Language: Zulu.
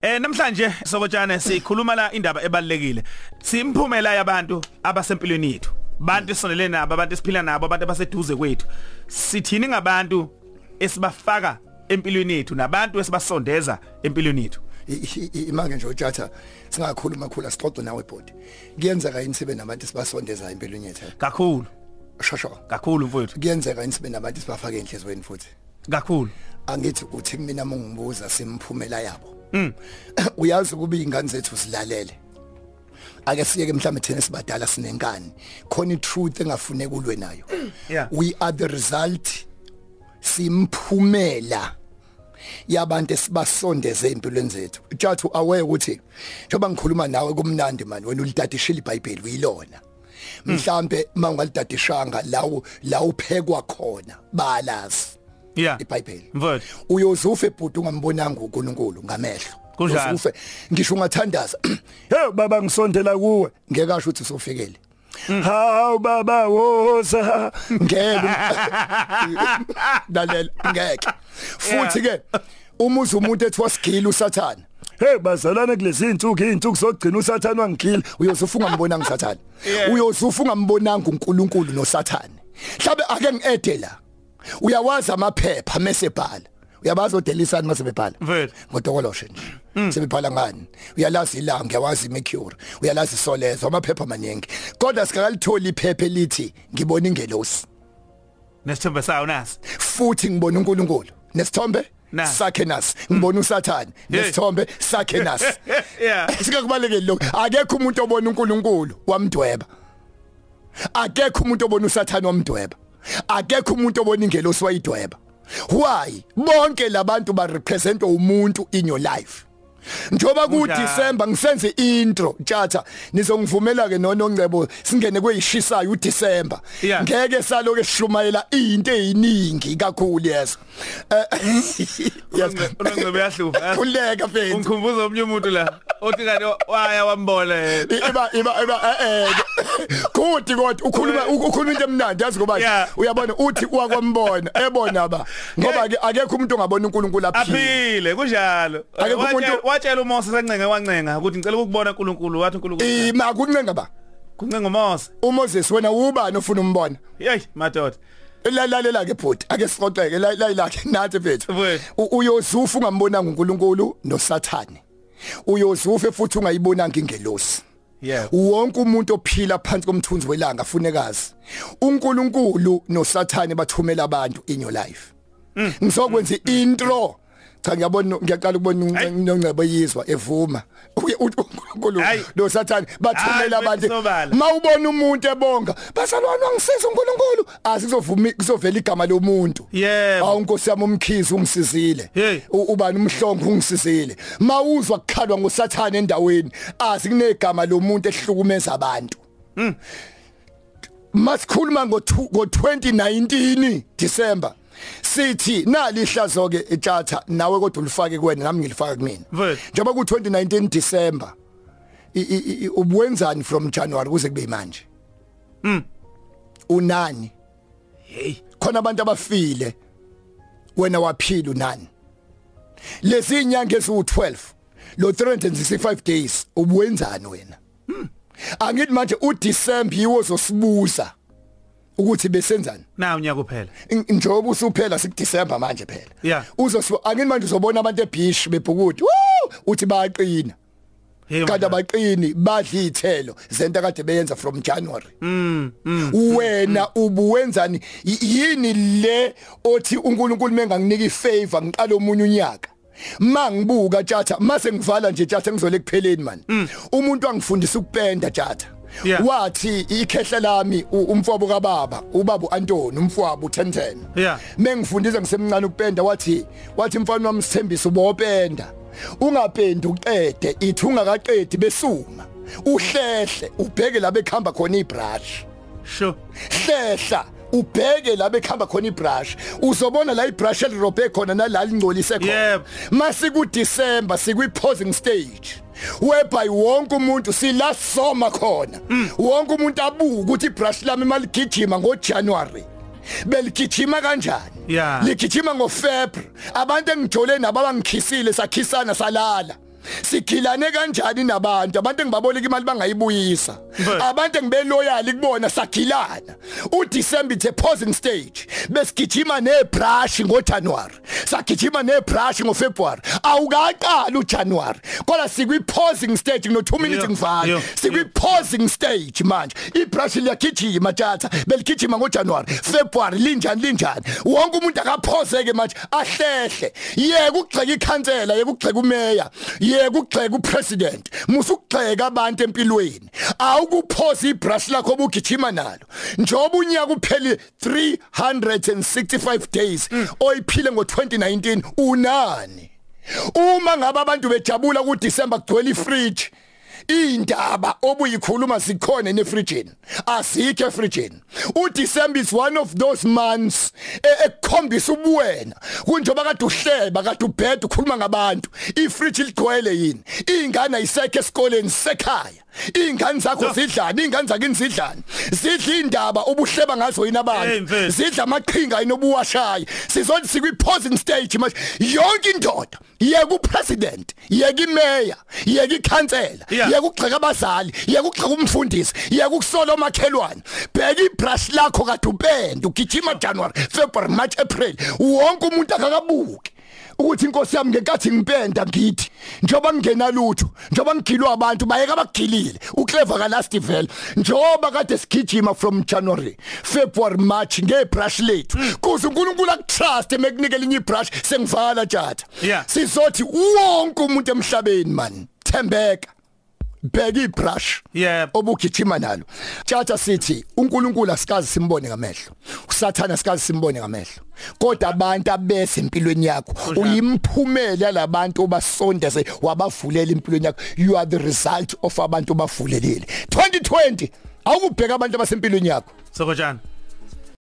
Eh namhlanje sokotjana sikhuluma la indaba ebalekile. Simphumela yabantu abasempilweni yethu. Bantu esonele nabo, abantu esiphila nabo, abantu abaseduze kwethu. Sithini ngabantu esibafaka empilweni yethu nabantu esibasondeza empilweni yethu. I- i- i- manje nje utshatha singakhuluma khulu asixoxe nawe ibhodi kuyenzeka yini sibe nabantu sibasondezayo empilweni yethu Kakhulu, shosho kakhulu mfowethu. kuyenzeka yini sibe nabantu sibafake enhlizweni futhi Kakhulu. angithi uthi kumina mongibuza simphumela yabo uyazi ukuba izingane zethu zilalele ake siyeke mhlawumbe thina sibadala sinenkani khona itruth engafuneka ulwe nayo Yeah. we are the result simphumela yabantu esibasondeze empilweni zethu jathu aware ukuthi njengoba ngikhuluma nawe kumnandi mani wena ulitadishile ibhayibheli uyilona mhlambe mangalidadishanga lawo la uphekwa khona balazi Yeah. iBhayibheli. Mfowethu. uyozufa ebhuti ungambonanga uNkulunkulu ngamehlo Kunjalo. Uyozufa. ngisho ungathandaza hey baba ngisondela kuwe Mm. ngeke asho ukuthi usofikele hawu baba woza ngeke dalela ngeke futhi ke umuza umuntu ethi wasigila usathana Hey bazalana kulezi intuku izintuku zogcina usathana wangigila uyozufunga ngibonanga usathana Yeah. uyozufunga ngibonanga uNkulunkulu nosathane mhlabe ake ngiede la uyawazi amaphepha mase bhala uyabazo delisana mase bebhala Mfethu. ngotokoloshe nje sebebhala ngani uyalazi ilanga uyawazi mercury uyalazi isolezo amaphepha maningi kodwa sikakalithola iphepha elithi ngibona ingelosi Nesithembe sayo nasi. futhi ngibona uNkulunkulu nesithombe Nasi. sakhe nasi ngibona usathane nesithombe sakhe nasi Yeah. sikakubalekile lokho akekho umuntu obona uNkulunkulu wamdweba akekho umuntu obona usathane wamdweba akekho umuntu obona ingelosi wayidweba why bonke labantu ba represent umuntu in your life Njoba ku Kunjalo. December ngisenze intro tjatha nizongivumela ke nonongcebo singene kweyishisayo u December Yeah. ngeke saloke sihlumayela izinto eziningi kakhulu yeso Eh, yes Unongcebe yahlupa. khuleka mfethu Ungikhumbuza omnye umuntu la othi kanti waya wambona yena. I- iba iba iba eh eh kuthi kodwa ukhuluma u- ukhuluma into emnandi yazi ngoba Eh. Yeah. uyabona uthi wakwambona ebona ba ngoba ke akekho umuntu ongabona uNkulunkulu aphila Eh. aphile kunjalo Akekho Watshela- umuntu- watshela uMose sancenga wancenga ukuthi ngicela ukubona uNkulunkulu wathi uNkulunkulu ima Eh, kuncenga ba kuncenga uMose uMoses wena ubani ofuna umbona hey madoda lalela ke bhuti ake siqoxeke la la- ilakhe nathi mfethu Mfethu. U- uyozufa ungambonanga uNkulunkulu noSathane uyozufa futhi ungayibonanga ingelosi yeah wonke umuntu ophila phansi komthunzi welanga funekazi uNkulunkulu noSathane bathumela abantu in your life Mm. ngisokwenza intro cha ngiyabona ngiyaqala ukubona Hayi. uNongcebo yizwa evuma Uye- uthi uNkulunkulu Hayi. noSathane bathumela Hayi, abantu sobala. mawubona umuntu ebonga bazalwana ngisiza uNkulunkulu asizovumi kuzovela igama lomuntu Yebo. awu nkosi yami umkhizi ungisizile Hey. U- ubani umhlongo ungisizile mawuzwa kukhalwa ngosathane endaweni azi kunegama lomuntu ehlukumeza abantu masikhuluma ngo two- ngo 2019 December sithi nali ihlazo ke etshatha nawe kodwa ulifake kuwena nami ngilifaka kumina Mfethu. njengoba ku 2019 December i- i- i- ubwenzani from January kuze kube manje mm unani hey khona abantu abafile wena waphila unani lezi inyanga ezu12 lo 365 days ubuwenzani wena angithi manje uDecember yiwo zosibuza ukuthi besenzani nawu unyaka uphela In- njengoba usuphela sikuDecember manje phela Yeah. uzosibu angithi manje uzobona abantu ebhish bebhukuthi Woo! uthi bayaqina hey kanti madoda. abaqini badla izithelo zento akade beyenza from January wena ubuwenzani Y- yini le othi uNkulunkulu menganginika ifavor ngiqala omunye unyaka mangibuka tjatha mase ngivala nje tjatha ngizole kupheleni man umuntu angifundisa ukupenda tjatha Yeah. wathi ikhehle lami u- umfowabo kababa ubaba uAntoni umfowabo uTenten Yeah. mengifundisa ngisemncane ukupenda wathi wathi mfana wami sithembisa ubopenda ungapendi uqede ithi ungakaqedi besuma uhlehle ubheke la bekhamba khona ibrush sho hlehla ubheke la bekhamba khona ibrush uzobona la ibrush elirobhe khona nalali ngcolise khona Yebo. masi ku December sikwi-posing stage whereby wonke umuntu silasoma khona wonke umuntu abuke ukuthi ibrush lami maligijima ngojanuary beligijima kanjani Yeah. ligijima ngofebruary abantu engijole nabo abangikhisile sakhisana salala sikhilane kanjani nabantu abantu engibaboleka imali bangayibuyisa Right. abantu engibe loyal kubona sakhilana uDecember the posing stage besigijima nebrush ngoJanuary sagijima nebrush ngoFebruary awukaqali uJanuary kodwa sikwi posing stage ngino 2 minutes Yeah, ngivale yeah, sikwi posing stage manje ibrush liyagijima tjatha beligijima ngoJanuary February linjani linjani wonke umuntu akaphoseke manje ahlehle yeke ukugxeka ikhansela yeke ukugxeka umeya yeke ukugxeka upresident musu ukugxeka abantu empilweni awukuphosa ibrush lakho obugijima nalo njoba unyaka upheli 365 days Mm. oyiphile ngo2019 unani uma ngabe abantu bejabula ku December kugcwele ifridge indaba obuyikhuluma sikhona nefridgeni asikho efridgeni uDecember is one of those months e- ekukhombisa ubuwena kunjoba kade uhleba kade ubhedha ukhuluma ngabantu ifridge ligcwele yini ingane ayisekho esikoleni sekhaya ingane zakho zidlani ingane zakini zidlani zidla indaba obuhleba ngazo yini Hey, abantu mfethu. sidla amaqhinga inobuwashaye sizothi sikwi posing stage manje yonke indoda yeke upresident yeke imeya yeke ikhansela Yeah. yeke ukugxeka abazali yeke ukugxeka umfundisi yeke ukusola omakhelwane bheka ibrush lakho kade upende ugijima January February March April wonke umuntu akakabuki ukuthi inkosi yami ngenkathi ngipenda ngithi njoba ngingena lutho njoba ngigilwa abantu bayeka abagilile uclever ka last vele njoba kade sigijima from January February March ngebrush lethu kuze uNkulunkulu akutrust emekunike linye ibrush sengivala tjata Yeah. sizothi wonke umuntu emhlabeni man thembeka bheka ibrush Yeah. obugijima nalo tjatha sithi uNkulunkulu asikazi simbone ngamehlo usathana asikazi simbone ngamehlo kodwa abantu abese empilweni yakho uyimphumela labantu obasondeze wabavulela empilweni yakho you are the result of abantu obavulelile 2020 awubheka abantu abasempilweni yakho sokojana